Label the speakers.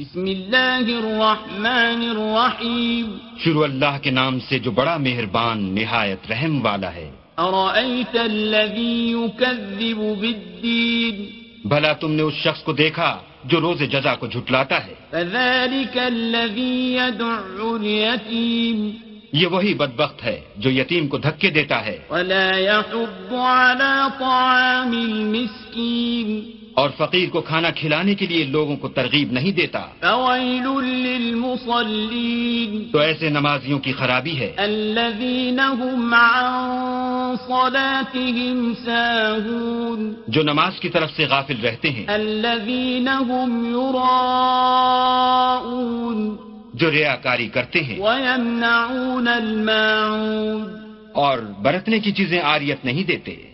Speaker 1: بسم الله الرحمن الرحيم
Speaker 2: शुरू अल्लाह के नाम से जो बड़ा मेहरबान निहायत रहम वाला है
Speaker 1: أرأيت الذي يكذب بالدين
Speaker 2: भला तुमने उस शख्स को देखा जो रोज जजा को झुटलाता है
Speaker 1: فذلك الذي يدع اليتيم
Speaker 2: ये वही बदबख्त है जो यतीम को धक्के देता है
Speaker 1: ولا يحض على طعام المسكين
Speaker 2: और फकीर को खाना खिलाने के लिए लोगों को तरगीब नहीं देता
Speaker 1: فويل للمصلين
Speaker 2: तो ऐसे नमाजियों की खराबी है
Speaker 1: الذين هم عن صلاتهم ساهون
Speaker 2: जो नमाज की तरफ से गाफिल रहते हैं
Speaker 1: الذين هم يراءون
Speaker 2: जो रियाकारी करते हैं
Speaker 1: ويمنعون الماعون
Speaker 2: और बरतने की चीजें आरियत नहीं देते